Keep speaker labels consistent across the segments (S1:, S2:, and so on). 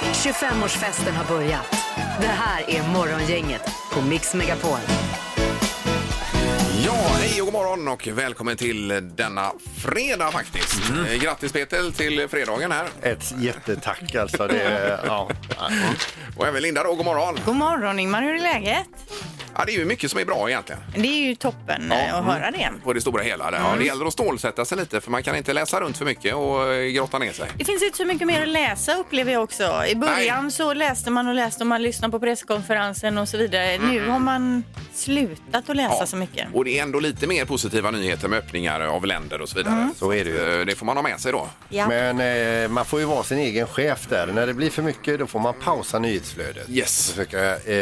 S1: 25-årsfesten har börjat. Det här är Morgongänget på Mix Megapol.
S2: Ja, hej och god morgon och välkommen till denna fredag faktiskt.
S3: Mm.
S2: Eh, Grattis Peter till fredagen här.
S4: Ett jättetack alltså. Det, ja.
S2: Och även Linda då, god morgon.
S3: God morgon Ingmar, hur är läget?
S2: Ja, det är ju mycket som är bra egentligen
S3: Det är ju toppen eh, att höra det.
S2: på det stora hela. Där. Ja,
S3: Mm.
S2: det gäller att stålsätta sig lite för man kan inte läsa runt för mycket och eh, grotta ner sig.
S3: Det finns inte så mycket mer att läsa upplever jag också. I början
S2: Nej.
S3: så läste man och läste och man lyssnade på presskonferensen och så vidare. Nu har man slutat att läsa så mycket.
S2: Och det är ändå lite mer positiva nyheter med öppningar av länder och så vidare.
S3: Mm.
S4: Så är det ju.
S2: Eh, Det får man ha med sig då.
S3: Ja.
S4: Men eh, man får ju vara sin egen chef där. När det blir för mycket då får man pausa nyhetsflödet.
S2: Yes.
S4: Försöka eh,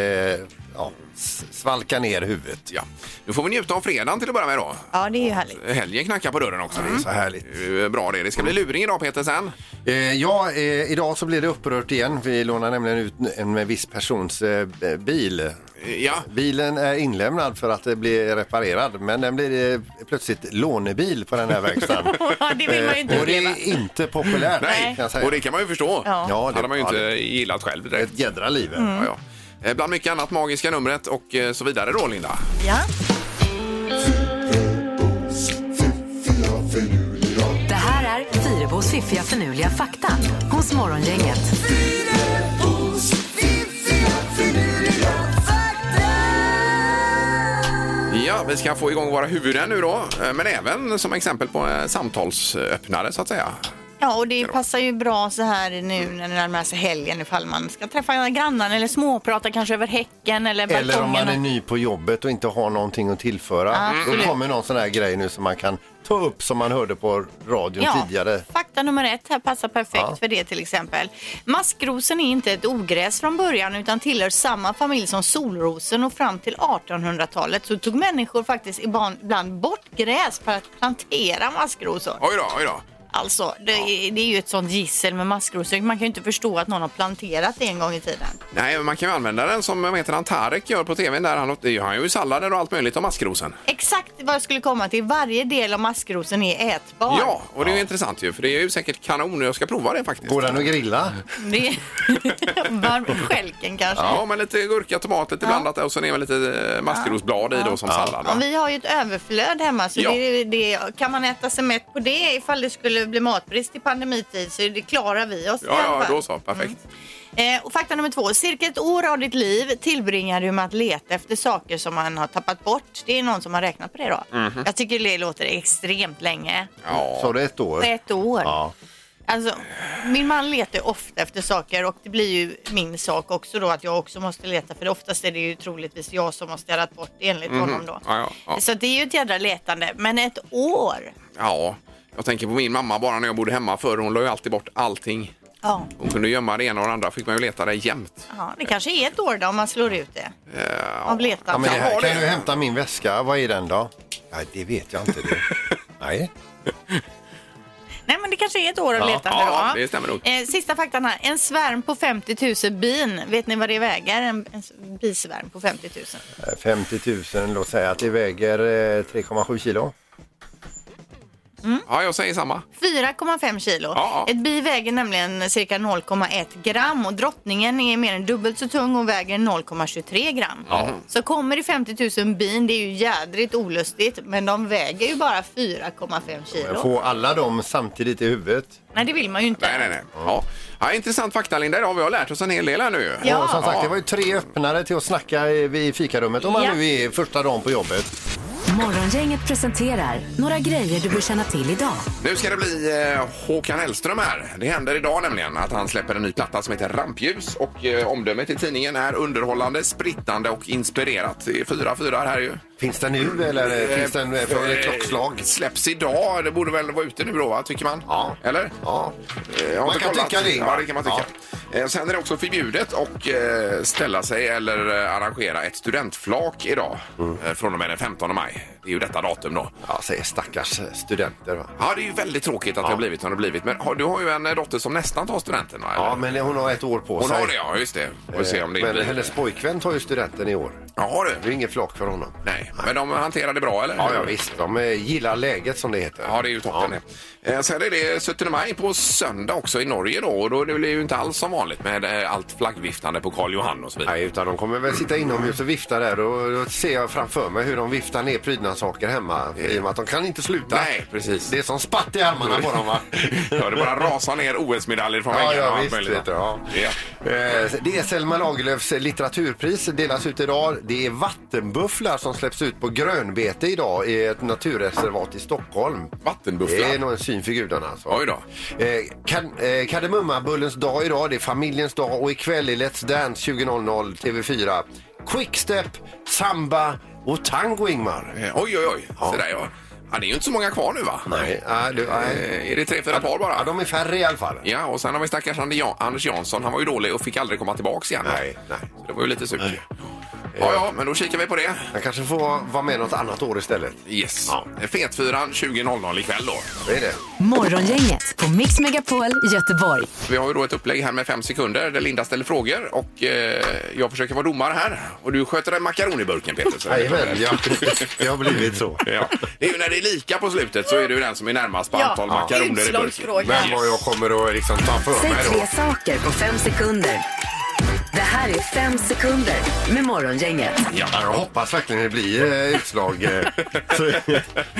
S4: ja, s- svalka ner huvudet.
S2: Ja. Nu får vi njuta av fredagen till att börja med då.
S3: ja, det är ju härligt.
S2: Helgen knackar på dörren också.
S3: Mm.
S4: Så härligt.
S2: Det är ju Bra det. Det ska bli luring idag Peter sen.
S4: Eh, ja, eh, idag så blir det upprört igen. Vi lånar nämligen ut en viss persons eh, bil.
S2: Eh, Ja.
S4: Bilen är inlämnad för att det blir reparerad men den blir eh, plötsligt lånebil på den här verkstaden. Eh,
S3: det vill man ju inte
S4: och det
S3: uppleva.
S4: är inte populärt
S2: Nej,
S4: kan jag säga.
S2: och det kan man ju förstå.
S3: Ja.
S4: Ja,
S2: det hade man ju inte
S4: ja, det-
S2: gillat själv direkt.
S4: Ett jädra liv.
S3: Mm.
S2: Ja, ja. Eh, Bland mycket annat, magiska numret och eh, så vidare då, Linda.
S3: Ja.
S1: Det här är Fyrebos fiffiga förnuliga fakta hos Morgongänget.
S2: Ja, vi ska få igång våra huvuden nu då, eh, men även som exempel på eh, samtalsöppnare så att säga.
S3: ja, och det passar ju bra så här nu när det närmar sig helgen ifall man ska träffa grannarna eller småprata kanske över häcken eller balkongen.
S4: Eller om man är
S3: och-
S4: ny på jobbet och inte har någonting att tillföra.
S3: Absolut.
S4: Då kommer någon sån här grej nu som man kan ta upp som man hörde på radion tidigare.
S3: Fakta nummer ett här passar perfekt för det till exempel. Maskrosen är inte ett ogräs från början utan tillhör samma familj som solrosen och fram till 1800-talet så tog människor faktiskt ibland ibland bort gräs för att plantera maskrosor.
S2: Oj då, oj då.
S3: Alltså, det, är- det är ju ett sånt gissel med maskrosor. Man kan ju inte förstå att någon har planterat det en gång i tiden.
S2: Nej, men man kan ju använda den som vad heter han, Tarek gör på tv. Där han, det gör han ju i sallader och allt möjligt om maskrosen.
S3: Exakt vad jag skulle komma till. Varje del av maskrosen är ätbar.
S2: Ja, och det är ju intressant ju, för det är ju säkert kanon och jag ska prova det faktiskt.
S4: Går den att grilla?
S3: Det är... Varm- Skälken kanske.
S2: Ja, men lite gurka, tomat, lite blandat och så ner med lite eh, maskrosblad i då som sallad.
S3: Ja,
S2: Va?
S3: vi har ju ett överflöd hemma så
S2: Ja.
S3: det, det, kan man äta sig mätt på det ifall det skulle bli matbrist i pandemitid så det klarar vi oss i
S2: Ja,
S3: alla
S2: ja,
S3: fall.
S2: då så. Perfekt.
S3: Eh, och fakta nummer två. Cirka ett år av ditt liv tillbringar du med att leta efter saker som man har tappat bort. Det är någon som har räknat på det då.
S2: Mhm.
S3: Jag tycker det låter extremt länge.
S4: Sa du ett år?
S3: Ett år.
S4: Ja.
S3: Alltså, min man letar ju ofta efter saker och det blir ju min sak också då att jag också måste leta för oftast är det ju troligtvis jag som har städat bort det enligt honom då.
S2: Mhm. Ja, ja, ja.
S3: Så det är ju ett jädra letande, men ett år.
S2: Ja, jag tänker på min mamma bara när jag bodde hemma förr. Hon la ju alltid bort allting.
S3: Ja.
S2: Hon kunde gömma det ena och det andra. Fick man ju leta det jämt. Eh,
S3: ja, det kanske är ett år då om man slår ut det. Av letande.
S4: Ja, men det
S2: Kan ha
S4: här,
S2: det.
S4: kan du hämta min väska? Vad är den då? Ja, det vet jag inte. Du. Nej.
S3: Nej, men det kanske är ett år av
S4: Ja,
S3: letande
S2: ja,
S3: då.
S2: det stämmer nog.
S3: Eh, sista faktan här. En svärm på 50 000 bin. Vet ni vad det väger? En, en s- bisvärm på 50 000.
S4: Eh, 50 000, låt säga att det väger eh, 3,7 kilo.
S2: Ja, jag säger samma.
S3: 4,5 kilo.
S2: Ja, ja.
S3: Ett bi väger nämligen cirka 0,1 gram och drottningen är mer än dubbelt så tung och väger 0,23 gram. Så kommer det 50 000 bin, det är ju jädrigt olustigt, men de väger ju bara 4,5 kilo.
S4: Få alla dem samtidigt i huvudet.
S3: Nej, det vill man ju inte.
S2: Nej, nej, nej. Ja. Ja, intressant fakta, Linda. Idag har vi har lärt oss en hel del här nu. ju.
S3: Ja.
S4: Och som sagt, det var ju tre öppnare till att snacka i i fikarummet om man
S3: Ja.
S4: nu är första dagen på jobbet.
S1: Morgongänget presenterar några grejer du bör känna till idag.
S2: Nu ska det bli eh, Håkan Hellström här. Det händer idag nämligen att han släpper en ny platta som heter Rampljus och eh, omdömet i tidningen är underhållande, sprittande och inspirerat. Det är fyra fyra här ju.
S4: Finns den nu eller eh, finns den eh, för ett klockslag?
S2: Släpps idag. Det borde väl vara ute nu då, va? tycker man?
S4: Ja.
S2: Eller?
S4: Ja.
S2: Eh, jag har
S4: Man
S2: inte
S4: kan
S2: kollat.
S4: tycka det, Ingvar.
S2: Ja, det kan man tycka. Eh, Sen är det också förbjudet att eh, ställa sig eller eh, arrangera ett studentflak idag
S4: Mm.
S2: eh, från och med den 15 maj. Det är ju detta datum då.
S4: Ja, säger stackars studenter. Va?
S2: Ja, det är ju väldigt tråkigt att det har blivit som det har blivit. Men har, du har ju en eh, dotter som nästan tar studenten, va?
S4: Ja,
S2: Eller?
S4: men hon har ett år på
S2: Hon
S4: sig.
S2: har det, ja. Just det. Vi får se om det
S4: men
S2: blir...
S4: hennes pojkvän tar ju studenten i år.
S2: Ja
S4: Det är
S2: du.
S4: inget flak för honom.
S2: Nej, men de hanterar det bra eller?
S4: Ja, ja visst. De eh, gillar läget som det heter.
S2: Ja, det är ju toppen. Eh, Sen är det 17 maj på söndag också i Norge då och då blir det ju inte alls som vanligt med eh, allt flaggviftande på Karl Johan och så vidare.
S4: Nej, utan de kommer väl sitta inomhus och vifta där och då ser jag framför mig hur de viftar ner prydnadssaker hemma i och med att de kan inte sluta.
S2: Nej, precis.
S4: Det är som spatt i armarna på dem va?
S2: Ja, det bara rasar ner OS-medaljer från
S4: Ja,
S2: väggarna
S4: ja,
S2: och allt
S4: visst.
S2: möjligt.
S4: Vet du, ja.
S2: Ja.
S4: Eh, Det är Selma Lagerlöfs litteraturpris delas ut idag. Det är vattenbufflar som släpps ut på grönbete idag i ett naturreservat i Stockholm.
S2: Vattenbufflar.
S4: Det är nog en syn för gudarna. Alltså.
S2: Oj då.
S4: Eh, kad- eh, Kardemummabullens dag idag, det är familjens dag och ikväll i Let's Dance 20.00 TV4. Quickstep, samba och tango Ingmar.
S2: Eh, Oj, oj, oj. Så där, ja. ja. Det är ju inte så många kvar nu va?
S4: Nej, ah, du, nej.
S2: Eh, Är det tre, fyra par
S4: Ja,
S2: bara?
S4: de är färre i alla fall.
S2: Ja, och sen har vi stackars Andi Jan- Anders Jansson. Han var ju dålig och fick aldrig komma tillbaks igen.
S4: Nej, nej. Eh.
S2: Så det var ju lite surt. Ja, ja, men då kikar vi på det.
S4: Jag kanske får vara med något annat år istället.
S2: Yes. Eh, Fetfyran 20.00 ikväll då.
S4: Vad är det?
S1: Morgongänget på Mix Megapol Göteborg.
S2: Vi har ju då ett upplägg här med fem sekunder där Linda ställer frågor och eh, jag försöker vara domare här. Och du sköter en makaroniburken Peter. Så
S4: Jajamän, ja. det har blivit så.
S2: Ja. Det är ju när det är lika på slutet så är det ju den som är närmast på
S3: Ja,
S2: antal makaroner i burken.
S3: utslagsfråga.
S4: Men vad jag kommer att liksom ta för
S1: Säg
S4: mig
S1: tre
S4: då.
S1: saker på fem sekunder. Det här är fem sekunder med Morgongänget.
S2: Ja.
S4: Jag hoppas verkligen det blir eh, utslag eh, så,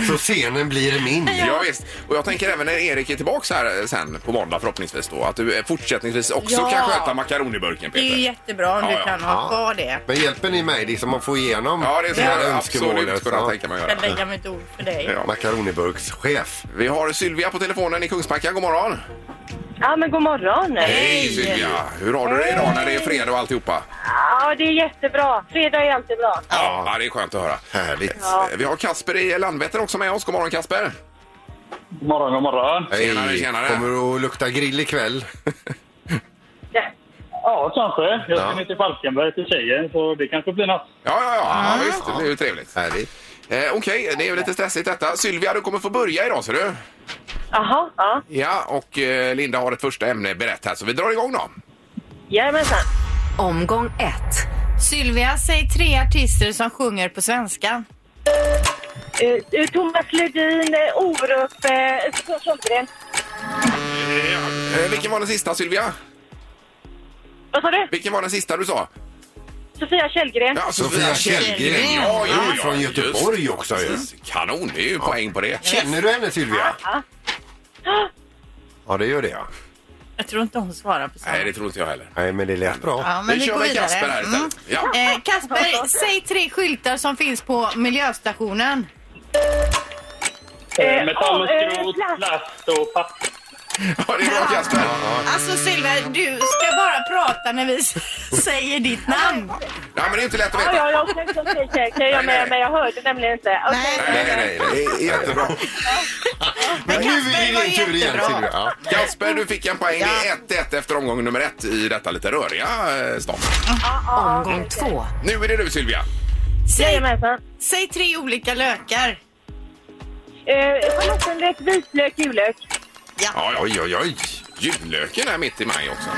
S4: så scenen blir min.
S2: Ja, visst. Och jag tänker även när Erik är tillbaks här eh, sen på måndag förhoppningsvis då att du eh, fortsättningsvis också
S3: Ja.
S2: kan sköta makaroniburken
S3: Det är
S2: Peter.
S3: ju jättebra om
S2: Ja,
S3: du
S2: ja.
S3: kan ha kvar det.
S4: Men hjälper ni mig liksom att få igenom
S2: Ja, det skulle
S4: här
S2: jag absolut
S4: önskemålet?
S2: kunna
S4: Ja.
S2: tänka mig
S3: Jag
S2: göra.
S3: lägger mitt ord för dig.
S2: Ja.
S4: Makaroniburkschef.
S2: Vi har Sylvia på telefonen i Kungsbacka. God morgon!
S5: Ja, men god morgon.
S2: Hej Sylvia! Hur har du det idag när det är fredag och alltihopa?
S5: Ja, det är jättebra. Fredag är alltid bra.
S2: Ja, ja det är skönt att höra.
S4: Härligt.
S5: Ja.
S2: Vi har Kasper i Landvetter också med oss. God morgon Kasper!
S6: God morgon, god morgon.
S2: Tjenare, tjenare.
S4: Kommer du att lukta grill ikväll?
S5: Ja.
S6: Ja, kanske. Jag ska ner till Falkenberg till tjejen, så det kanske blir något.
S2: Ja, ja, ja, ja visst. Det blir ju trevligt. Eh,
S4: Härligt.
S2: Okej, det är ju lite stressigt detta. Sylvia, du kommer få börja idag ser du.
S5: Jaha, ja.
S2: Ja, och eh, Linda har ett första ämne berett här så vi drar igång då.
S5: Jajamensan.
S1: Omgång ett.
S3: Sylvia, säg tre artister som sjunger på svenska.
S5: Eh, eh, Thomas Ledin, eh, Orup, eh, Björn Sundgren.
S2: Eh, vilken var den sista Sylvia?
S5: Vad sa du?
S2: Vilken var den sista du sa?
S5: Sofia Källgren.
S2: Ja,
S4: Sofia Källgren.
S2: Ja, ja,
S4: Hon är
S2: ja,
S4: från
S2: just
S4: Göteborg också ju.
S2: precis. Kanon, det är ju poäng på det.
S4: Känner du henne Sylvia?
S5: Ja.
S4: Ja, det gör det ja.
S3: Jag tror inte hon svarar på samma.
S2: Nej, det tror inte jag heller.
S4: Nej, men det lät bra.
S3: Ja, men
S2: Nu
S3: vi
S2: kör
S3: går
S2: vi
S3: vidare.
S2: Kasper här
S3: Mm.
S2: istället. Ja.
S3: Eh, Kasper, säg tre skyltar som finns på miljöstationen.
S5: Eh,
S6: Metall och
S5: åh, eh,
S6: skrot,
S5: plast.
S6: plast och papp.
S2: Ja, det är bra Kasper.
S3: Alltså Sylvia, du ska bara prata när vi s- säger ditt namn.
S2: Ja, men det är inte lätt att
S5: Ja,
S2: veta.
S5: ja, jag tänkte okej, okej, okej,
S2: Nej,
S5: jag
S2: nej.
S5: med, men jag hörde nämligen inte. Okej.
S3: Nej,
S2: Nej, nej, nej, det är jättebra.
S4: Men nu är
S3: Kasper
S4: det
S3: var
S4: din tur igen
S3: jättebra.
S4: Sylvia. Ja.
S2: Kasper, du fick en poäng. Det är 1-1 efter omgång nummer ett i detta lite röriga eh, start.
S1: Omgång två.
S2: Nu är det du Sylvia.
S3: Säg,
S5: Jajamensan.
S3: säg tre olska lökar.
S5: Eh, Schalottenlök, vitlök, gulök.
S2: Ja, ja,
S4: Oj, oj, oj.
S2: Jullöken är mitt i maj också.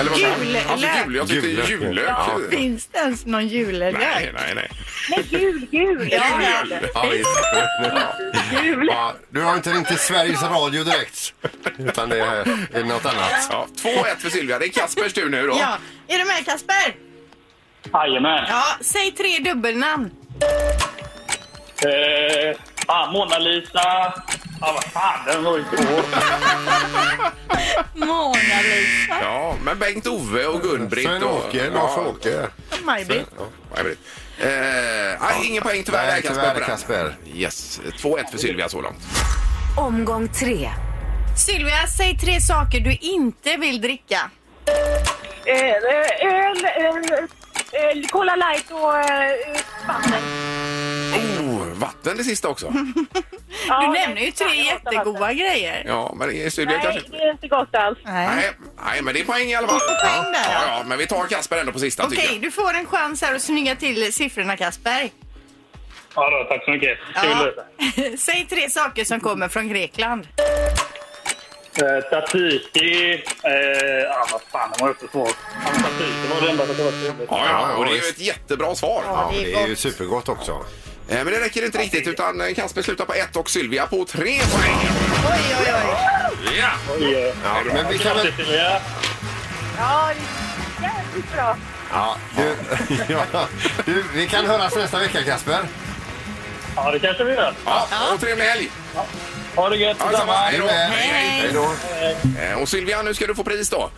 S2: Eller vad
S3: Jullök.
S2: Alltså, jul, jag tyckte
S4: Jullök.
S2: jullök.
S4: Ja.
S3: Finns det ens någon
S2: Nej,
S3: jullök?
S2: nej, nej.
S5: Nej, gul, gul.
S3: Ja, ja.
S5: Gul,
S4: Ja, visst.
S5: Gul.
S4: Ja, du har inte ringt till Sveriges Radio direkt. Utan det är, är något annat.
S2: Ja, 2-1 för Sylvia. Det är Kaspers tur nu då.
S3: Ja, är du med Kasper?
S6: Jajamän.
S3: Ja, säg tre dubbelnamn.
S6: Eh, ah, Mona Lisa. Ah, vad fan, den var ju svår.
S3: Mona Lisa.
S2: Ja, men Bengt-Ove och Gun-Britt. och-
S4: Sven-Åke, Lars-Åke.
S3: Maj-Britt.
S2: Ja, Maj-Britt. Eh, nej, ingen poäng tyvärr
S4: Nej,
S2: där, Kasper.
S4: tyvärr,
S2: på den.
S4: Kasper.
S2: Yes, 2-1 för Sylvia så långt.
S1: Omgång tre.
S3: Sylvia, säg tre saker du inte vill dricka.
S5: Eh, eh, Öl, eh, eh, Cola light och eh, vatten.
S2: Oh, vatten det sista också.
S5: Ja,
S3: Du
S5: det-
S3: nämner ju tre
S5: jag hatar vatten.
S3: jättegoda grejer.
S2: Ja, men det är Sylvia
S5: Nej,
S2: kanske...
S5: det är inte gott alls.
S3: Nej.
S2: Nej, nej, men det är poäng i alla fall.
S3: Det är poäng där,
S2: ja,
S3: ja.
S2: ja, men vi tar Kasper ändå på sista tycker jag.
S3: Okej, du får en chans här att snygga till siffrorna Kasper.
S6: Ja, då, tack så mycket. Kul.
S3: Säg tre saker som kommer från Grekland.
S6: Eh, Tzatziki... Eh, ah, vad fan, det var ju så svårt. Ja, men Tzatziki var det enda som var
S2: Ja, ja, och det är ju ett jättebra svar.
S4: Ja, det är ju supergott också.
S2: Eh, Men det räcker inte riktigt utan eh, Kasper slutar på ett och Sylvia på tre poäng.
S3: Oj, oj, oj.
S2: Ja!
S6: trevligt.
S4: Ja, men vi kan väl...
S6: Grattis Silvia!
S5: Ja, det är jävligt bra.
S4: Ja, du, ja, du, vi kan höras nästa vecka, Kasper.
S6: Ja, det kanske vi gör.
S2: Ja, och trevlig helg!
S6: Ha det gött!
S2: Ja, detsamma. Hej då!
S4: Hej,
S3: hej.
S4: Hej då.
S2: Eh, Och Sylvia, nu ska du få pris då.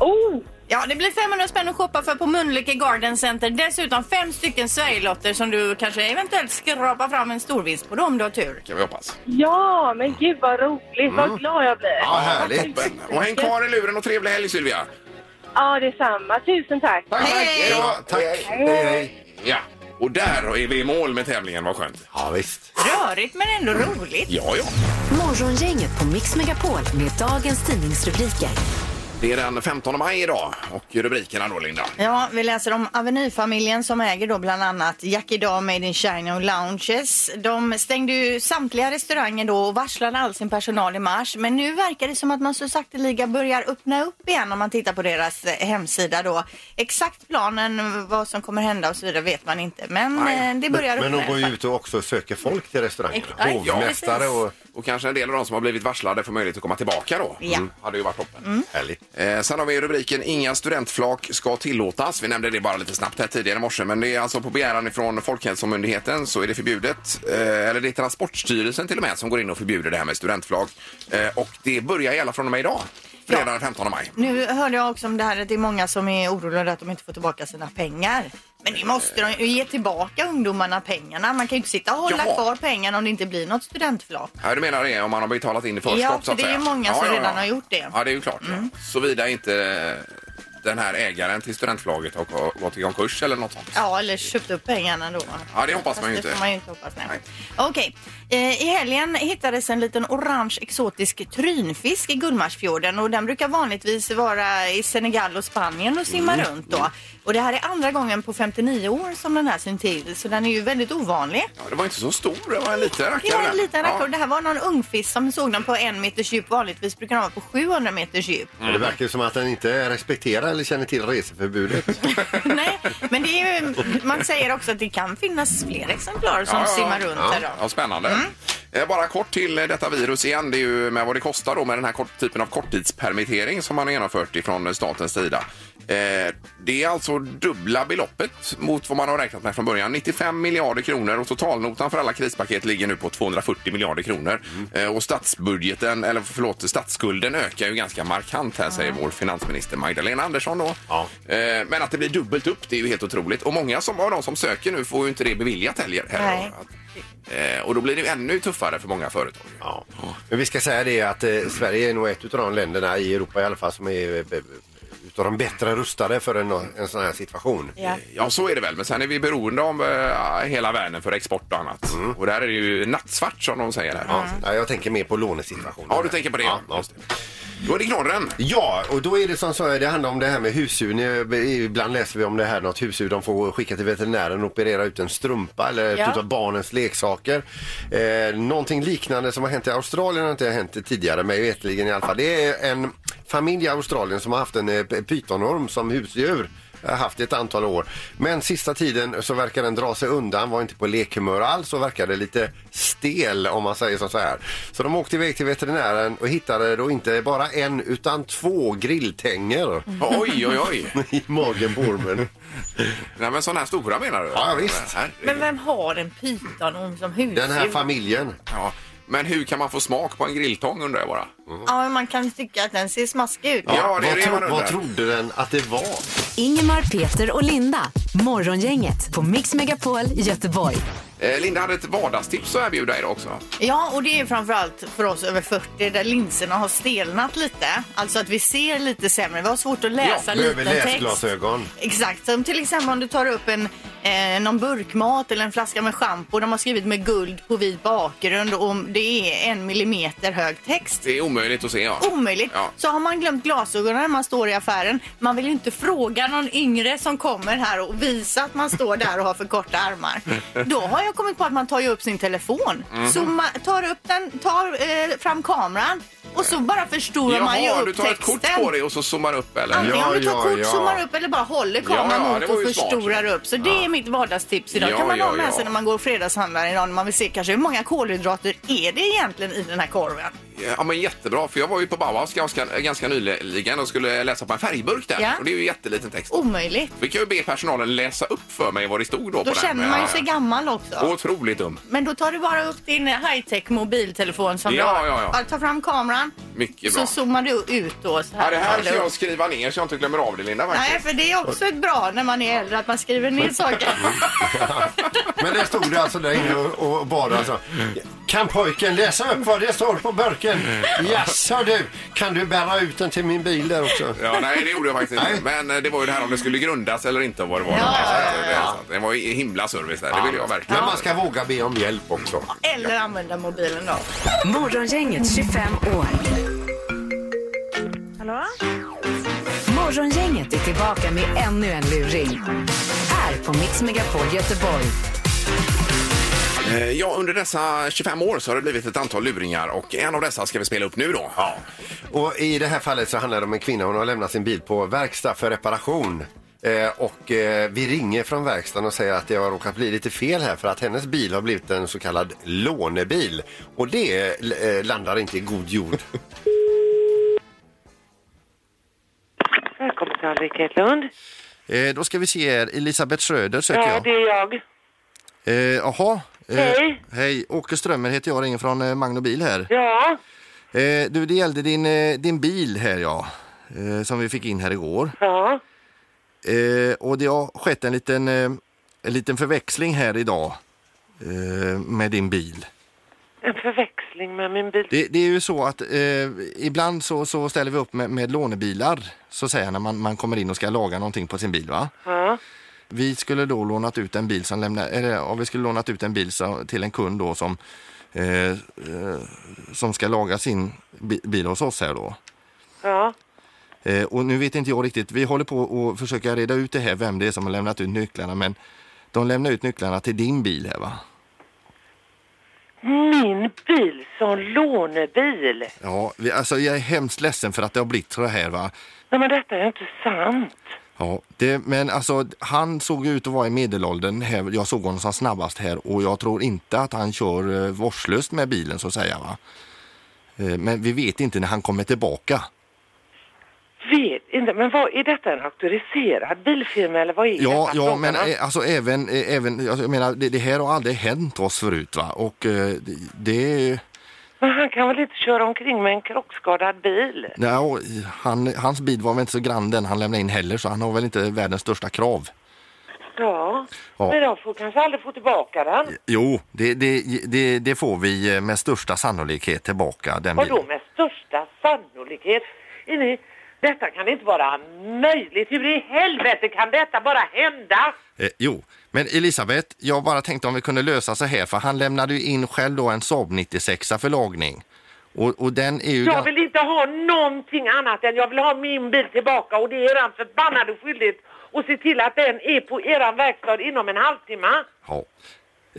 S5: Oh,
S3: Ja, det blir 500 spänn att shoppa för på Mölnlycke Garden Center. Dessutom fem stycken Sverigelotter som du kanske eventuellt skrapar fram en storvinst på då om du har tur.
S2: Kan vi hoppas.
S5: ja, men gud vad roligt. Vad glad jag blir.
S4: Mm. Ja, härligt.
S2: Toppen. Och häng kvar i luren och trevlig helg Sylvia!
S5: Ja, detsamma. Tusen tack.
S4: Tack, tack. Hej då. Tack. Hej, hej.
S2: Ja, och där är vi i mål med tävlingen, vad skönt.
S4: Ja, visst.
S3: Rörigt men ändå roligt.
S2: Ja, ja.
S1: Morgongänget på Mix Megapol med dagens tidningsrubriker.
S2: Det är den 15 maj idag och rubrikerna då Linda.
S3: Ja, vi läser om Avenyfamiljen som äger då bland annat Jackie Daw, Made in China och Lounges. De stängde ju samtliga restauranger då och varslade all sin personal i mars. Men nu verkar det som att man så sakteliga börjar öppna upp igen om man tittar på deras eh, hemsida då. Exakt planen, vad som kommer hända och så vidare vet man inte. Men
S2: Nej,
S3: eh, det börjar
S4: Men
S3: öppna
S4: de går
S3: i
S4: ju
S3: alla fall.
S4: ut och också söker folk till restaurangerna.
S3: Exakt. Ja,
S4: Hovmästare
S3: precis.
S4: och...
S2: Och kanske en del av de som har blivit varslade får möjlighet att komma tillbaka då. Mm.
S3: Ja.
S2: Hade ju varit toppen.
S4: Härligt.
S2: Eh, sen har vi rubriken Inga studentflak ska tillåtas. Vi nämnde det bara lite snabbt här tidigare i morse men det är alltså på begäran ifrån Folkhälsomyndigheten så är det förbjudet. Eh, eller det är Transportstyrelsen till och med som går in och förbjuder det här med studentflak. Eh, och det börjar gälla från och med idag. Fredag den 15 maj.
S3: Nu hörde jag också om det här att det är många som är oroliga att de inte får tillbaka sina pengar. Men det måste de ju ge tillbaka ungdomarna pengarna. Man kan ju inte sitta och hålla
S2: Jaha.
S3: kvar pengarna om det inte blir något studentflak.
S2: Ja, du menar det om man har betalat in i förskott
S3: Ja, för
S2: så att
S3: det är
S2: säga.
S3: ju många som redan har gjort det. Mm.
S2: Ja, det är ju klart. Ja. Såvida inte den här ägaren till studentflaget har har gått i konkurs eller något sånt.
S3: Ja, eller köpt upp pengarna då.
S2: Ja, det hoppas
S3: Fast
S2: man ju
S3: Det
S2: inte.
S3: får man ju inte hoppas, nej.
S2: Nej.
S3: Okej. Eh, I helgen hittades en liten orange exotisk trynfisk i Gullmarsfjorden och den brukar vanligtvis vara i Senegal och Spanien och simma
S2: Mm.
S3: runt då. Och det här är andra gången på 59 år som den här syns till, så den är ju väldigt ovanlig.
S2: Ja, det var inte så stor, det var en liten rackare.
S3: Det var
S2: där.
S3: en liten rackare. och
S2: Ja.
S3: Det här var någon ungfisk som såg den på en meters djup. Vanligtvis brukar de vara på 700 meters djup.
S4: Men Det verkar ju som att den inte respekterar eller känner till reseförbudet.
S3: Nej, men det är ju, man säger också att det kan finnas fler exemplar som
S2: Ja, ja,
S3: simmar runt
S2: ja.
S3: där då. Mm.
S2: Ja, spännande. Eh, Bara kort till eh, detta virus igen. Det är ju med vad det kostar då med den här kort, typen av korttidspermittering som man har genomfört ifrån eh, statens sida. Eh, det är alltså dubbla beloppet mot vad man har räknat med från början. 95 miljarder kronor och totalnotan för alla krispaket ligger nu på 240 miljarder kronor. Eh, och statsbudgeten, eller förlåt, statsskulden ökar ju ganska markant här säger vår finansminister Magdalena Andersson då.
S4: Ja.
S2: Eh, men att det blir dubbelt upp, det är ju helt otroligt. Och många som, av de som söker nu får ju inte det beviljat heller. heller
S3: Nej.
S2: Att- Eh, och då blir det ju ännu tuffare för många företag.
S4: Ja. Men vi ska säga det att eh, Sverige är nog ett av de länderna i Europa i alla fall som är eh, b- utav de bättre rustade för en, en sån här situation.
S3: Ja.
S2: Ja, så är det väl. Men sen är vi beroende av eh, hela världen för export och annat. Och där är det ju nattsvart som de säger här.
S4: Mm. Ja, Ja, jag tänker mer på lånesituationen.
S2: Ja, du tänker på det.
S4: Ja,
S2: Ja,
S4: ja.
S2: Just det. Då är det knorren.
S4: Ja, och då är det som så, det handlar om det här med husdjur. Ni- eh, Ibland läser vi om det här, något husdjur de får skicka till veterinären och operera ut en strumpa eller
S3: Ja.
S4: ett utav barnens leksaker. Eh, någonting liknande som har hänt i Australien har inte hänt tidigare, mig veterligen i alla fall. Det är en familj i Australien som har haft en eh, p- pytonorm som husdjur har haft i ett antal år. Men sista tiden så verkar den dra sig undan, var inte på lekhumör alls och verkade lite stel om man säger så här. Så de åkte iväg till veterinären och hittade då inte bara en utan två grilltänger
S2: Oj, oj, oj.
S4: i magen på ormen.
S2: Nej, men sådana här stora menar du? Eh,
S4: Ja, visst.
S2: Här.
S3: Men vem har en pyton som husdjur?
S4: Den här familjen.
S2: Ja. Men hur kan man få smak på en grilltång undrar jag bara?
S3: Ja, men man kan tycka att den ser smaskig ut.
S2: Ja, det är
S4: vad,
S2: det man
S4: tro-
S2: undrar.
S4: vad trodde den att det var?
S1: Ingemar, Peter och Linda. Morgongänget på Mix Megapol Göteborg.
S2: Eh, Linda hade ett vardagstips att erbjuda idag också.
S3: Ja, och det är framförallt för oss över 40 där linserna har stelnat lite. Alltså att vi ser lite sämre. Vi har svårt att läsa
S4: Behöver
S3: liten text.
S4: läsglasögon.
S3: Exakt, som till exempel om du tar upp en, eh, någon burkmat eller en flaska med schampo. De har skrivit med guld på vit bakgrund och det är en millimeter hög text.
S2: Det är omöjligt att se. Ja.
S3: Omöjligt.
S2: Ja.
S3: Så har man glömt glasögonen när man står i affären. Man vill ju inte fråga någon yngre som kommer här och visa att man står där och har för korta armar. Då har jag
S2: Mhm.
S3: kommit på att man tar ju upp sin telefon. Så man tar upp den, tar eh, fram kameran Och så bara förstorar man ju
S2: Jaha,
S3: upp
S2: du tar ett
S3: texten.
S2: kort på det och så zoomar upp eller?
S3: Antingen
S7: Ja,
S3: om du tar
S7: ja,
S3: kort,
S7: ja.
S3: zoomar upp eller bara håller kameran
S2: Ja, ja, det
S3: mot
S2: var
S3: och
S2: ju smart.
S3: förstorar upp. Så det är mitt vardagstips idag.
S2: Ja,
S3: kan man
S2: ja,
S3: ha med
S2: ja.
S3: sig när man går och fredagshandlar idag när man vill se kanske hur många kolhydrater är det egentligen i den här korven.
S2: Eh, Ja men jättebra, för jag var ju på Bauhaus ganska, ganska nyligen och skulle läsa på en färgburk där.
S3: Ja.
S2: Och det är ju jätteliten text.
S3: Omöjligt.
S2: Vi kan ju be personalen läsa upp för mig vad det stod då,
S3: Då
S2: på den.
S3: känner man ju sig gammal också.
S2: Otroligt dum.
S3: Men då tar du bara upp din high-tech mobiltelefon som
S2: Ja,
S3: du har.
S2: ja, ja.
S3: Bara Ta fram kameran.
S2: Mycket
S3: så
S2: bra.
S3: zoomar du ut då. Så här.
S2: Ja, det här ska jag skriva ner så jag inte glömmer av det Linda
S3: Nej,
S2: faktiskt.
S3: för det är också ett bra när man är äldre att man skriver ner saker.
S7: Men det stod det alltså där inne och, och bad alltså. Kan pojken läsa upp vad det står på burken? Jaså du, kan du bära ut den till min bil där också?
S2: Ja, nej, det gjorde jag faktiskt inte. Men eh, det var ju det här om det skulle grundas eller inte och vad det var.
S3: Ja,
S2: Så
S3: ja,
S2: att, eh, Det, det var ju himla service där, det vill jag verkligen.
S7: Men man ska våga be om hjälp också.
S3: Eller använda mobilen då.
S1: Morgongänget 25 år.
S5: Hallå?
S1: Morgongänget är tillbaka med ännu en luring. Här på Mix Megapol Göteborg.
S2: Eh, Ja, under dessa 25 år så har det blivit ett antal luringar och en av dessa ska vi spela upp nu då. Ja.
S7: Och i det här fallet så handlar det om en kvinna. Hon har lämnat sin bil på verkstad för reparation. Eh, och eh, vi ringer från verkstaden och säger att det har råkat bli lite fel här för att hennes bil har blivit en så kallad lånebil. Och det eh, landar inte i god jord.
S5: Välkommen till Alrik Hedlund.
S7: Eh, då ska vi se här. Elisabeth Schröder söker
S5: Ja,
S7: jag.
S5: det är jag.
S7: Eh, Jaha. Eh,
S5: Hej.
S7: Hej, Åke Strömmer heter jag, ringer från eh, Magno Bil här.
S5: Ja,
S7: Eh, du, det gällde din, eh, din bil här ja, eh, som vi fick in här igår.
S5: ja.
S7: Eh, och det har skett en liten, eh, en liten förväxling här idag eh, med din bil.
S5: En förväxling med min bil.
S7: Det, det är ju så att eh, ibland så, så ställer vi upp med, med lånebilar, så att säga, när man, man kommer in och ska laga någonting på sin bil va?
S5: Ja,
S7: Vi skulle då lånat ut en bil som lämnade, eller ja, vi skulle lånat ut en bil så, till en kund då som, eh, eh, som ska laga sin bi, bil hos oss här då.
S5: ja.
S7: Eh, och nu vet inte jag riktigt, vi håller på och försöka reda ut det här, vem det är som har lämnat ut nycklarna, men de lämnar ut nycklarna till din bil här va?
S5: Min bil som lånebil.
S7: Ja, vi, alltså jag är hemskt ledsen för att det har blivit så här va.
S5: Nej, men detta är inte sant.
S7: Ja, det, men alltså han såg ju ut att vara i medelåldern här, jag såg honom som snabbast här och jag tror inte att han kör eh, vårdslöst med bilen så att säga va. Eh, men vi vet inte när han kommer tillbaka.
S5: Vet inte, men vad, är detta en auktoriserad bilfirma eller vad är
S7: Ja,
S5: detta
S7: ja
S5: frågan
S7: men
S5: om?
S7: eh, alltså även, eh, även alltså, jag menar det, det här har aldrig hänt oss förut va och eh, det, det
S5: Men han kan väl inte köra omkring med en krockskadad bil?
S7: Nej, och han, hans bil var väl inte så grann den han lämnade in heller så han har väl inte världens största krav.
S5: Ja,
S7: Ja.
S5: men de får kanske aldrig få tillbaka den.
S7: Jo, det, det, det, det får vi eh, med största sannolikhet tillbaka. Den
S5: Vadå
S7: bilen.
S5: med största sannolikhet? Är ni, detta kan inte vara möjligt. Hur i helvete kan detta bara hända?
S7: Eh, jo, men Elisabeth, jag bara tänkte om vi kunde lösa så här för han lämnade ju in själv då en Saab 96 för lagning. Och, och den är ju...
S5: Jag
S7: gan-
S5: vill inte ha någonting annat än jag vill ha min bil tillbaka och det är eran förbannade skyldighet att se till att den är på eran verkstad inom en halvtimme.
S7: Ja.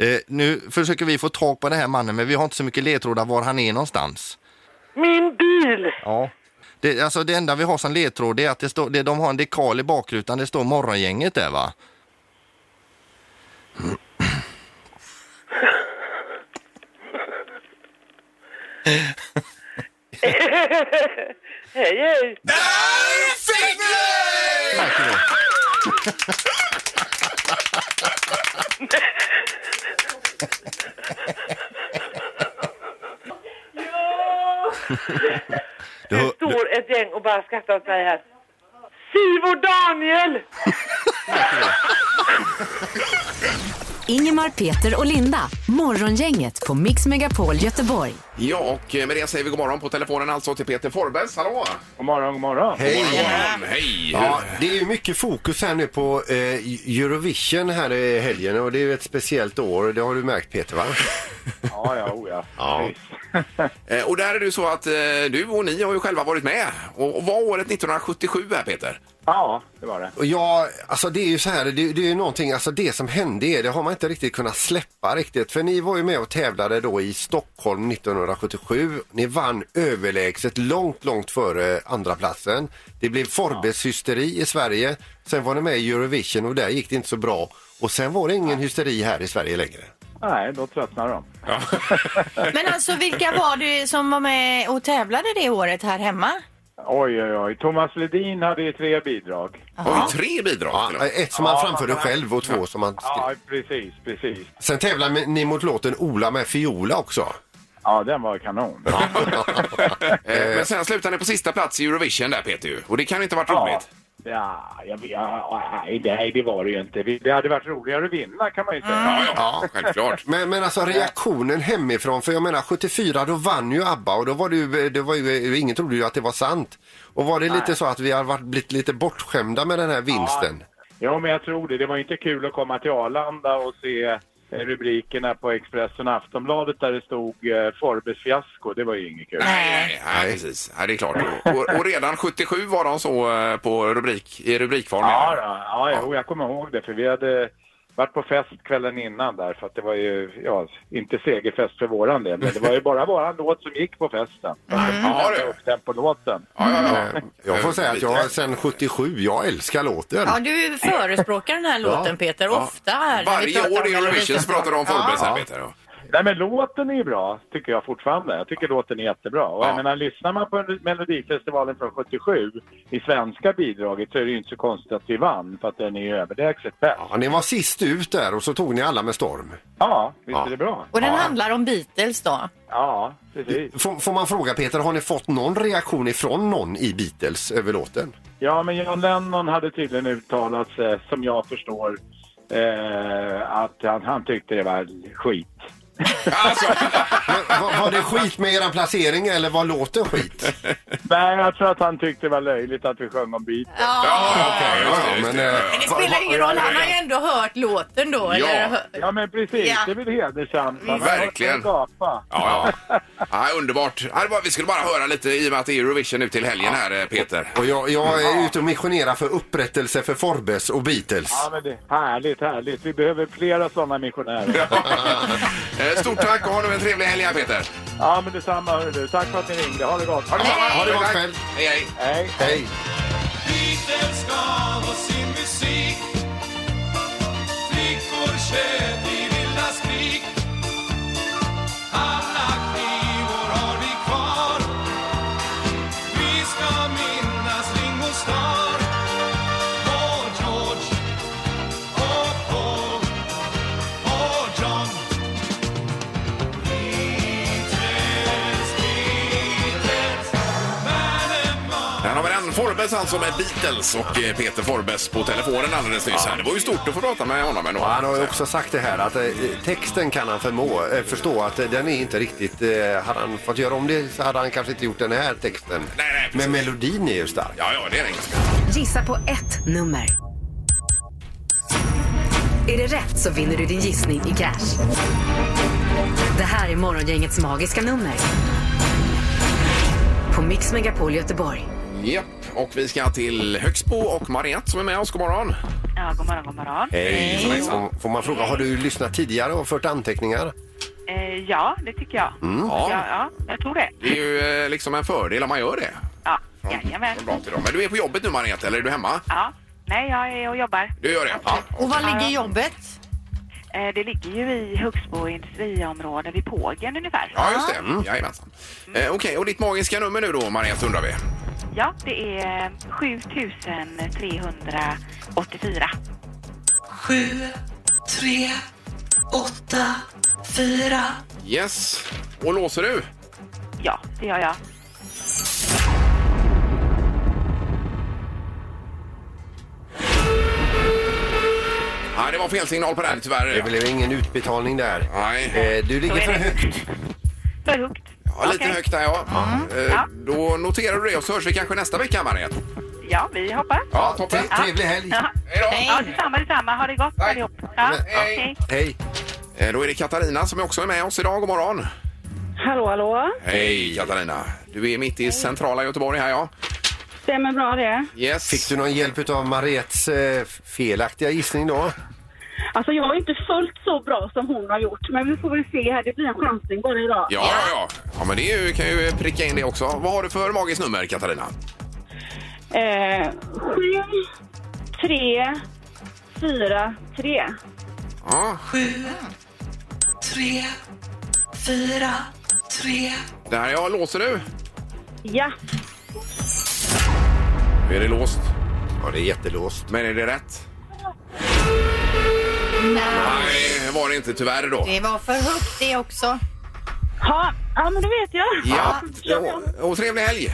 S7: Eh, nu försöker vi få tag på den här mannen men vi har inte så mycket ledtrådar var han är någonstans.
S5: Min bil!
S7: Ja. Det, alltså det enda vi har som ledtråd det är att det står, det, de har en dekal i bakrutan, det står morgongänget där va?
S5: Hej hej!
S2: Där fick vi!
S7: Du, hör- du,
S5: Står ett gäng och bara skrattar åt mig här. Siv och Daniel!
S1: Ingemar, Peter och Linda. Morgongänget på Mix Megapol Göteborg.
S2: Ja, och eh, med det säger vi god morgon på telefonen alltså till Peter Forbes. Hallå!
S6: God morgon, god morgon.
S2: God morgon. Hej!
S7: Ja, det är ju mycket fokus här nu på eh, Eurovision här i helgen och det är ju ett speciellt år. Det har du märkt Peter va?
S6: Ja, ja, oh, ja.
S7: Ja.
S2: Eh, Och där är det ju så att eh, du och ni har ju själva varit med. Och och var året 1977 här Peter?
S6: Ja, det var det.
S4: Och Ja, alltså det är ju så här, det, det är ju någonting, alltså det som hände er, det har man inte riktigt kunnat släppa riktigt. För ni var ju med och tävlade då i Stockholm 1977. Ni vann överlägset långt, långt före andra platsen. Det blev Forbes hysteri i Sverige. Sen var ni med i Eurovision och där gick det inte så bra. Och sen var det ingen hysteri här i Sverige längre.
S6: Nej, då tröttnade de.
S3: Men alltså vilka var det som var med och tävlade det året här hemma?
S6: Oj, oj, oj. Thomas Ledin hade ju tre bidrag.
S2: Har vi tre bidrag? till och med?
S4: Ett som han framförde själv och två som han skrev.
S6: Ja, precis, precis.
S4: Sen tävlade ni mot låten Ola med Fiola också.
S6: Ja, den var kanon.
S2: Eh, Men sen slutade ni på sista plats i Eurovision där Peter ju. Och det kan inte ha varit roligt.
S6: Ja, jag vet, ja, nej, nej, det var det ju inte. Vi- Det hade varit roligare att vinna kan man ju säga.
S2: Ja, ja, självklart.
S4: Men, men alltså reaktionen hemifrån, för jag menar 74 då vann ju ABBA och då var det ju, det var ju ingen trodde ju att det var sant. Och var det lite så att vi har varit, blivit lite bortskämda med den här vinsten?
S6: Ja, men jag tror det. Det var inte kul att komma till Arlanda och se eh, rubrikerna på Expressen och Aftonbladet där det stod eh, Forbes fiasko. Det var ju inget kul.
S2: Nej, nej, precis. Nej, det är klart. Och, och redan 77 var de så eh, på rubrik, i rubrikform.
S6: Ja, då. ja, jo, jag kommer ihåg det för vi hade varit på fest kvällen innan där för att det var ju, ja, inte segerfest för våran del, men det var ju bara våran låt som gick på festen.
S2: Ja, du.
S6: Upptempolåten.
S2: Ja,
S4: Mm.
S2: ja, ja.
S4: Eh, Jag får säga att jag
S2: Lite.
S4: sen 77, jag älskar låten.
S3: Ja, du förespråkar den här låten Peter, ofta här. när vi
S2: Varje
S3: pratar
S2: år i
S3: om
S2: Eurovision så pratar de om Forbes här,
S4: Ja.
S2: Peter. Ja.
S6: Nej men låten är ju bra, tycker jag fortfarande. Jag tycker låten är jättebra. Och
S2: Ja.
S6: jag menar, lyssnar man på Melodifestivalen från 77 i svenska bidraget så är det ju inte så konstigt att vi vann för att den är ju överlägset bäst.
S4: Ja, ni var sist ut där och så tog ni alla med storm.
S6: Ja, visst
S4: Ja.
S6: är det bra?
S3: Och den
S4: Ja.
S3: handlar om Beatles då.
S6: Ja, precis.
S4: Får, får man fråga Peter, har ni fått någon reaktion ifrån någon i Beatles över låten?
S6: Ja, men John Lennon hade tydligen uttalat sig, som jag förstår, eh, att han, han tyckte det var skit.
S2: Alltså,
S4: Men, var, var det skit med eran placering eller var låten skit?
S6: Nej, jag tror att han tyckte det var löjligt att vi sjöng om Beatles.
S3: Ja.
S2: okej, just det,
S4: Ja,
S2: just
S4: men,
S2: det.
S4: eh,
S3: Men det spelar ingen roll, han har ju ändå hört låten då.
S2: Ja.
S3: Eller? hö-
S6: Ja, men precis.
S3: Ja.
S6: Det är väl hedersamt. Man har hört
S2: Mm, Verkligen.
S6: mig gapa.
S2: Ja, ja. ja underbart. Ja, det var- Vi skulle bara höra lite i och med att det är Eurovision nu till helgen här, eh, Peter.
S4: Och jag, jag är ute och missionerar för upprättelse för Forbes och Beatles.
S6: Ja, men det härligt, härligt. Vi behöver flera sådana missionärer.
S2: Eh, Stort tack och ha nu en trevlig helg här, Peter.
S6: Ja, men detsamma. hörru du. Tack för att ni ringde. Ha det gott.
S2: Ha det bra.
S4: Ha det gott
S2: Tack.
S4: själv.
S2: Hej, hej.
S6: Hej.
S4: Hej!
S8: Beatles gav oss sin musik Flickor tjöt i vilda skrik Alla knivor har vi kvar Vi ska minnas Ringo Starr Och George Och Paul Och John Beatles, Beatles Världen var
S2: Här har vi den. Forbes alltså med Beatles och eh, Peter Forbes på telefonen alldeles nyss. Här. Det var ju stort att få prata med honom ändå.
S4: Han har ju också sagt det här att eh, texten kan han förmå, eh, förstå att eh, den är inte riktigt... Eh, hade han fått göra om det så hade han kanske inte gjort den här texten.
S2: Nej, nej, precis.
S4: Men melodin är ju stark.
S2: Ja, ja, det är det engelska.
S1: Gissa på ett nummer. Är det rätt så vinner du din gissning i cash. Det här är Morgongängets magiska nummer. På Mix Megapol Göteborg.
S2: Japp, och vi ska till Högsbo och Mariette som är med oss. God morgon.
S9: Ja, god morgon, god morgon.
S4: Hej! Får, får man fråga, har du lyssnat tidigare och fört anteckningar?
S9: Eh, ja, det tycker jag. Mm. Ja,
S2: Ja,
S9: ja, jag tror det.
S2: det är ju eh, liksom en fördel om man gör det.
S9: Ja, jajamän.
S2: Från bra till dem. Men du är på jobbet nu Mariette, eller är du hemma?
S9: Ja. Nej, jag är och jobbar.
S2: Du gör det? Ja.
S3: Och var ligger jobbet?
S9: Eh, det ligger ju i Högsbo industriområde vid Pågen ungefär.
S2: Ja, just det. Jajamensan. Eh, Okej, och ditt magiska nummer nu då, Mariette, undrar vi?
S9: Ja, det är eh, 7384.
S2: Yes. Och låser du?
S9: Ja, det gör jag.
S2: Nej, det var fel signal på den tyvärr.
S4: Det blev ingen utbetalning där.
S2: Nej,
S4: Eh, du ligger
S9: Så
S4: för
S9: är det.
S4: högt.
S9: För högt.
S2: ja, lite
S9: Okej.
S2: högt där ja. Eh,
S9: Ja.
S2: Då noterar du det och så hörs vi kanske nästa vecka, Mariette.
S9: Ja, vi hoppas.
S2: Ja, toppen.
S4: Tre- Trevlig helg!
S9: Ja,
S2: Hej då!
S9: ja detsamma, detsamma. Ha det gott
S2: Tack.
S9: allihop. Ja,
S2: Hej.
S9: hej.
S4: Hej!
S2: Eh, Då är det Katarina som är också är med oss idag. God morgon!
S10: Hallå, hallå.
S2: Hej Katarina! Du är mitt i centrala Göteborg här ja.
S10: Stämmer bra det.
S2: Yes.
S4: Fick du någon hjälp av Mariettes eh, felaktiga gissning då?
S10: Alltså jag är inte fullt så bra som hon har gjort, men vi får väl se här. Det blir en chansning bara idag.
S2: Ja, ja, ja. ja men det är ju, kan ju pricka in det också. Vad har du för magiskt nummer, Katarina?
S10: Eh, sju, tre, fyra, tre.
S2: Ja,
S11: tre, fyra, tre.
S2: där ja, låser du?
S10: Ja.
S2: Nu är det låst.
S4: Ja, det är jättelåst.
S2: Men är det rätt? Nej, det var det inte tyvärr då.
S3: Det var för högt det också.
S10: Ha. Ja, men det vet jag.
S2: Ja, och, och trevlig helg!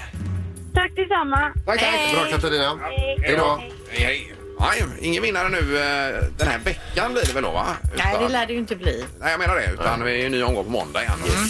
S10: Tack detsamma.
S4: Tack, tack. Bra Katarina. Hej då.
S2: Hej, hej. Nej, ingen vinnare nu eh, den här veckan blir det väl då, va?
S3: Nej, det
S2: Utan-
S3: lär det ju inte bli.
S2: Nej, jag menar det. Utan vi är ju en ny omgång på måndag igen.
S3: Mm.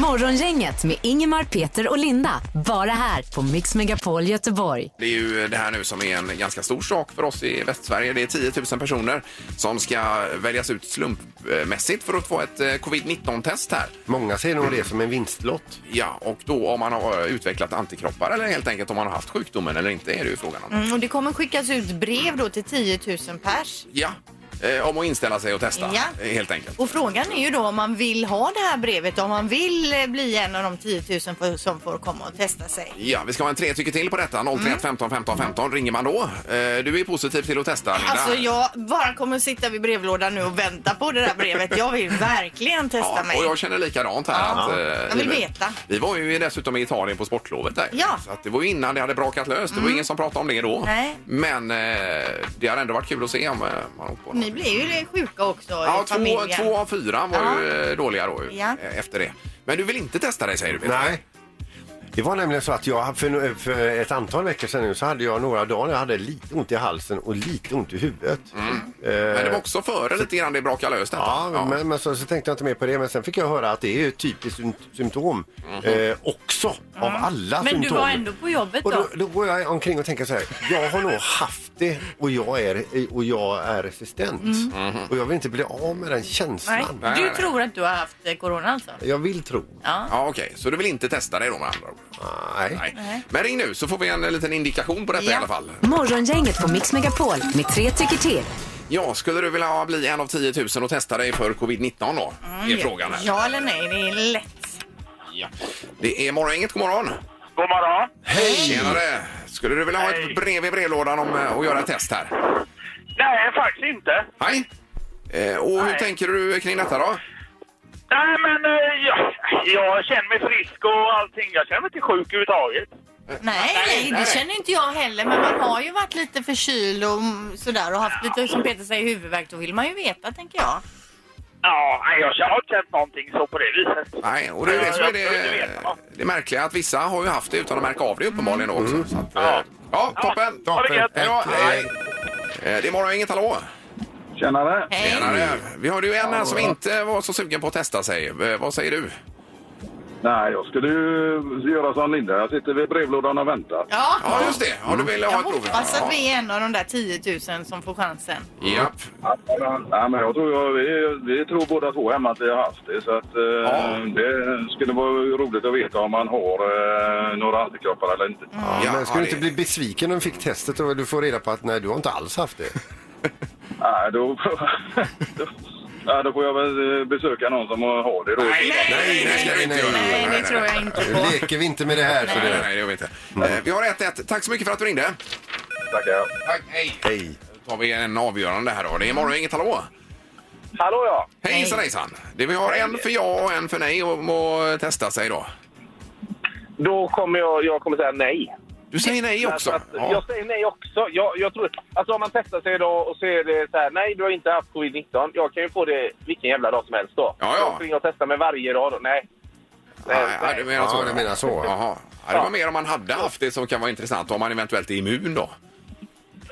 S1: Morgongänget med Ingemar, Peter och Linda. Bara här på Mix Megapol Göteborg.
S2: Det är ju det här nu som är en ganska stor sak för oss i Västsverige. Det är 10 000 personer som ska väljas ut slumpmässigt för att få ett eh, covid-19-test här.
S4: Många ser nog det som en vinstlott.
S2: Ja, och då om man har eh, utvecklat antikroppar eller helt enkelt om man har haft sjukdomen eller inte är det ju frågan om.
S3: Mm, och det kommer skickas ut brev då till 10 000 pers.
S2: Ja, eh, om att inställa sig och testa
S3: Ja.
S2: eh, helt enkelt.
S3: Och frågan är ju då om man vill ha det här brevet, om man vill eh, bli en av de 10 000 för, som får komma och testa sig.
S2: Ja, vi ska ha en tre tycker till på detta. 031
S3: Mm.
S2: 15 15 15 ringer man då. Eh, Du är positiv till att testa, Linda.
S3: Alltså jag bara kommer sitta vid brevlådan nu och vänta på det där brevet. Jag vill verkligen testa
S2: Ja,
S3: mig.
S2: och jag känner likadant här.
S3: Ja.
S2: Att, eh,
S3: Jag vill veta.
S2: Vi var ju dessutom i Italien på sportlovet där.
S3: Ja. Mm.
S2: Så att det var ju innan det hade brakat löst. Det var ingen som pratade om det då.
S3: Nej.
S2: Men eh, det hade ändå varit kul att se om eh, man åkt på något.
S3: Ni blir ju sjuka också
S2: Ja,
S3: i
S2: två,
S3: familjen.
S2: två av fyra var
S3: Ja.
S2: ju eh, dåliga då ju,
S3: Ja.
S2: eh, efter det. Men du vill inte testa dig säger du? Peter?
S4: Nej. Det var nämligen så att jag för, för ett antal veckor sedan nu så hade jag några dagar när jag hade lite ont i halsen och lite ont i huvudet. Eh,
S2: Men det var också före lite grann det brakade löst. detta.
S4: Ja, men, men så, så tänkte jag inte mer på det. Men sen fick jag höra att det är ju ett typiskt sym- symptom eh, också av alla
S11: Men du
S4: symptom.
S11: var ändå på jobbet
S4: och
S11: då?
S4: då, då går jag omkring och tänker så här, jag har nog haft det och jag är, och jag är resistent. Och jag vill inte bli av med den
S11: Nej.
S4: känslan.
S2: Nej,
S11: Du
S2: nej.
S11: tror att du har haft eh, corona alltså?
S4: Jag vill tro.
S11: Ja.
S2: Ja, okej. Så du vill inte testa dig då med andra ord?
S4: Nej.
S2: Nej. Men ring nu så får vi en eh, liten indikation på detta i alla fall.
S1: Morgongänget på Mix Megapol med tre tycker till.
S2: Ja, skulle du vilja bli en av 10 000 och testa dig för covid-19 då? är frågan här.
S3: Mm.
S2: Eh,
S3: Ja eller nej, det är lätt.
S2: Ja. Det är morgongänget, god morgon.
S6: God morgon!
S2: Hej! Tjenare! Skulle du vilja ha ett brev i brevlådan om eh, att göra ett test här?
S6: Nej, faktiskt inte.
S2: Hej! Eh, och hur
S6: Nej.
S2: tänker du kring detta då?
S6: Nej, men eh, jag, jag känner mig frisk och allting. Jag känner mig inte sjuk överhuvudtaget.
S3: Nej, nej,
S2: nej.
S3: det känner inte jag heller. Men man har ju varit lite förkyld och mm, sådär och haft lite, som Peter säger, huvudvärk. Då vill man ju veta, tänker jag.
S6: Ja, nej, jag har inte känt någonting så på det viset.
S2: Nej, och det är det
S6: Ja,
S2: som är
S6: jag tror du
S2: det,
S6: vet, va?
S2: det märkliga att vissa har ju haft det utan att märka av det uppenbarligen då också. Så att, eh,
S6: Ja.
S2: ja, toppen!
S6: Ha det gött.
S2: Hej då! Hej! Eh, Det är morgongänget, hallå!
S6: Tjenare!
S3: Hej.
S2: Tjenare! Vi hörde ju en här som inte var så sugen på att testa sig. Eh, Vad säger du?
S6: Nej, jag skulle ju göra som Linda. Jag sitter vid brevlådan och väntar.
S3: Ja.
S2: Ja, just det. Ja, du ville ha
S3: Jag
S2: ett prov.
S3: hoppas att vi är en av de där 10 000 som får chansen.
S2: Ja. Japp.
S6: Nej, men jag tror jag, vi, vi tror båda två hemma att vi har haft det. Så att, eh,
S2: Ja.
S6: Det skulle vara roligt att veta om man har eh, några antikroppar eller inte.
S4: Ja,
S2: Ja,
S4: men skulle
S2: ja,
S4: du inte
S2: det-
S4: bli besviken om du fick testet och du får reda på att nej, du har inte alls haft det?
S6: Nej, då, då, ja, då får jag väl eh, besöka någon som har det. Då.
S2: Nej, det ska vi inte göra.
S3: Nej, det tror jag inte
S4: Nu
S3: på.
S4: leker vi inte med det här. Så
S2: Nej,
S4: det...
S2: nej, det gör vi inte. Eh, Vi har 1-1. Tack så mycket för att du ringde.
S6: Tackar.
S2: Tack, hej.
S4: Hej.
S2: Då tar vi en avgörande här då. Det är morgon, inget hallå.
S6: Hallå ja!
S2: Hejsan hejsan. Det vi har en för ja och en för nej och må testa sig då.
S6: Då kommer jag, jag kommer säga nej.
S2: Du säger nej
S6: Därför
S2: också.
S6: att
S2: Ja.
S6: Jag säger nej också. Jag, jag tror, alltså om man testar sig idag och så är det så här, nej du har inte haft covid-19. Jag kan ju få det vilken jävla dag som helst då.
S2: Ja, ja.
S6: Jag springer och testar mig varje dag då. Nej.
S2: Nej, ja, du menar så.
S4: Ja, du menar så.
S2: Jaha. Ja, det var mer om man hade haft det som kan vara intressant. Om man eventuellt är immun då.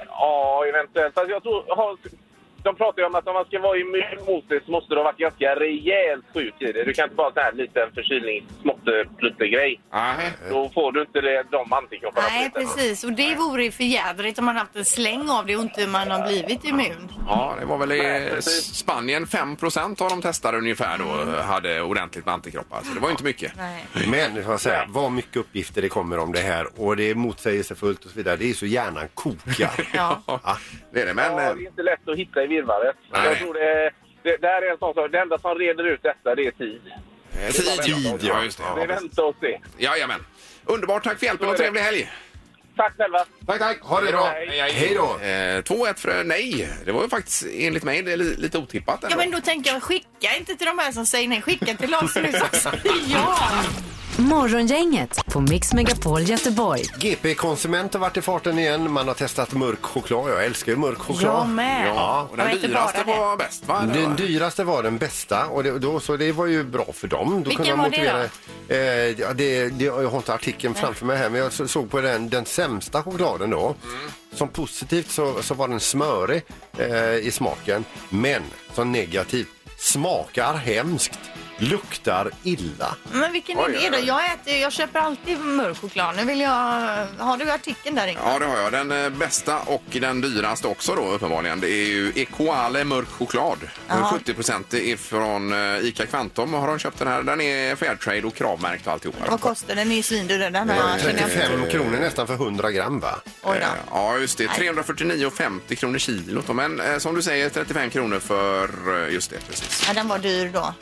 S6: Ja, eventuellt. Alltså jag tror, har,
S12: de pratar ju om att om man ska vara immun mot det så måste du ha varit ganska rejält sjuk i det. Du kan inte bara ha en sån här liten
S6: eh,
S12: förkylningssmåttepluttegrej. Då får du inte det, de antikropparna.
S3: Nej, precis. Och det vore ju för jädrigt om man haft en släng av det och inte man har blivit immun.
S2: Ja, det var väl i Spanien 5 av de testade ungefär då hade ordentligt med antikroppar. Så det var ju inte mycket.
S11: Nej.
S4: Men jag får säga, vad mycket uppgifter det kommer om det här och det är motsägelsefullt och så vidare. Det är så hjärnan kokar.
S11: Ja.
S2: det är det. Men, eh,
S12: Ja, det är inte lätt att hitta i virrvarret.
S2: Nej.
S12: Jag tror det, det, det här är en sån sak. Det enda som reder ut detta, det är tid.
S2: Eh, Tid, ja. Just det.
S12: Det är
S2: Ja,
S12: vänta och se.
S2: Jajamän. Underbart. Tack för hjälpen och trevlig helg.
S12: Tack själva.
S4: Tack, tack. Ha det bra. Hej då.
S2: Eh, 2-1 för nej. Det var ju faktiskt enligt mig det är li- lite otippat.
S3: Ja,
S2: ändå.
S3: men då tänker jag skicka inte till de här som säger nej. Skicka till oss nu som säger ja.
S1: Morgongänget på Mix Megapol Göteborg.
S4: GP-konsument har varit i farten igen. Man har testat mörk choklad. Jag älskar ju mörk choklad.
S3: Jag med.
S4: Ja.
S2: Och den dyraste var bäst va? Eller
S4: Den
S2: vad?
S4: dyraste var den bästa och det, då, så det var ju bra för dem. Då
S3: Vilken
S4: kunde de
S3: var
S4: motivera,
S3: det
S4: då? Eh, ja, det, det, jag har inte artikeln framför mig här men jag så- såg på den, den sämsta chokladen då. Som positivt så, så var den smörig eh, i smaken men som negativt smakar hemskt, luktar illa.
S3: Men vilken
S2: Oj,
S3: idé då?
S2: oj, oj.
S3: Jag, äter, jag köper alltid mörk choklad. Nu vill jag... Har du artikeln där Ingmar?
S2: Ja, det har jag. Den eh, bästa och den dyraste också då uppenbarligen. Det är ju Equale mörk choklad.
S3: Jaha.
S2: 70 procent ifrån eh, ICA Kvantum har de köpt den här. Den är Fairtrade och kravmärkt och alltihopa.
S3: Vad kostar den? Den är ju svindyr den här.
S4: Ja,
S3: Jag känner jag-
S4: 35 kronor nästan för 100 gram va?
S3: Oj då.
S2: Eh, Ja, just det. 349,50 kronor kilot. då. Men eh, som du säger, 35 kronor för... eh, Just det, precis.
S3: Ja, den var dyr då.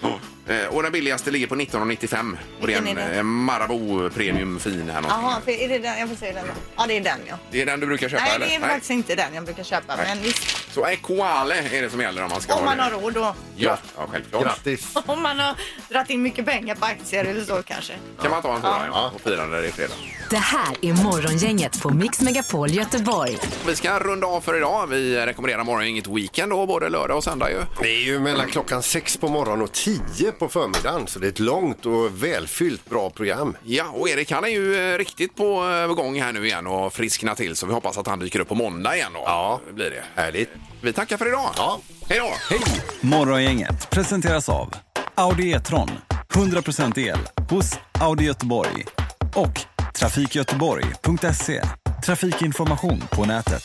S2: Eh, Och den billigaste ligger på 1995. Och det är en
S3: Vilken är det?
S2: eh, Marabou Premium Fin här någonting.
S3: Jaha, för är det den? Jag får se den. då. Ja, det är den ja.
S2: Det är den du brukar köpa,
S3: Nej,
S2: eller?
S3: det är faktiskt inte den jag brukar köpa.
S2: Nej.
S3: Men visst,
S2: Så Equale är det som gäller om man ska
S3: om
S2: ha
S3: man
S2: det.
S3: har råd då.
S2: Ja, ja självklart.
S4: Grattis!
S3: Om man har dragit in mycket pengar på aktier eller så kanske.
S2: Kan man ta en sådan ja. och fira när det är fredag.
S1: Det här är Morgongänget på Mix Megapol Göteborg.
S2: Vi ska runda av för idag. Vi rekommenderar morgongänget Weekend då, både lördag och söndag ju.
S4: Det är ju mellan klockan sex på morgonen och 10 på förmiddagen så det är ett långt och välfyllt bra program.
S2: Ja, och Erik han är ju eh, riktigt på eh, gång här nu igen och frisknar till så vi hoppas att han dyker upp på måndag igen då.
S4: Ja.
S2: Det blir det.
S4: Härligt.
S2: Vi tackar för idag.
S4: Ja.
S2: Hej då!
S4: Hej!
S13: Morgongänget presenteras av Audi E-tron. 100% el hos Audi Göteborg. Och trafikgöteborg.se. Trafikinformation på nätet.